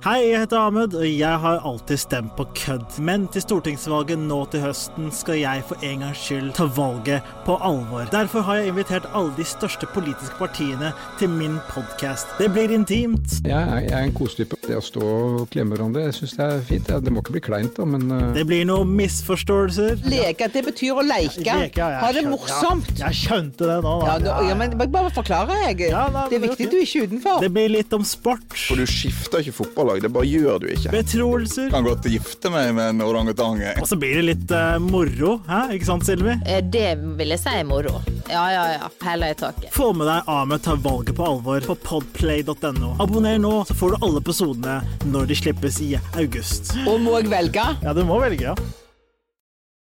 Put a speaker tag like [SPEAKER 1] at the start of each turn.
[SPEAKER 1] Hei, jeg heter Ahmed, og jeg har alltid stemt på kødd. Men til stortingsvalget nå til høsten skal jeg for en gangs skyld ta valget på alvor. Derfor har jeg invitert alle de største politiske partiene til min podkast. Det blir intimt,
[SPEAKER 2] Jeg er, jeg er en kosetype. Det å stå og klemme hverandre, jeg syns det er fint. Ja, Det må ikke bli kleint, da, men eh,
[SPEAKER 1] det blir noen misforståelser.
[SPEAKER 3] Leke, det betyr å leke.
[SPEAKER 1] Leker, jeg
[SPEAKER 3] ha det
[SPEAKER 1] skjønner-
[SPEAKER 3] morsomt.
[SPEAKER 1] Ja, jeg skjønte det nå, da.
[SPEAKER 3] Ja, da, ja, men bare- bare forklare, jeg.
[SPEAKER 1] Ja, nei,
[SPEAKER 3] det er
[SPEAKER 1] men
[SPEAKER 3] viktig
[SPEAKER 1] ok.
[SPEAKER 3] du er ikke er utenfor.
[SPEAKER 1] Det blir litt om sport.
[SPEAKER 4] For du skifter ikke fotballag, det bare gjør du ikke.
[SPEAKER 1] Betroelser.
[SPEAKER 5] kan godt gifte meg med en orangutang. jeg.
[SPEAKER 1] Og så blir det litt eh, moro, hæ? ikke sant, Silvi?
[SPEAKER 6] Eh, Det vil jeg si er moro. Ja, ja, ja. Heller i taket.
[SPEAKER 1] Få med deg Ahmed tar valget på alvor på podplay.no. Abonner nå, så får du alle episodene når de slippes i august.
[SPEAKER 3] Og må jeg velge?
[SPEAKER 1] Ja, du må velge, ja.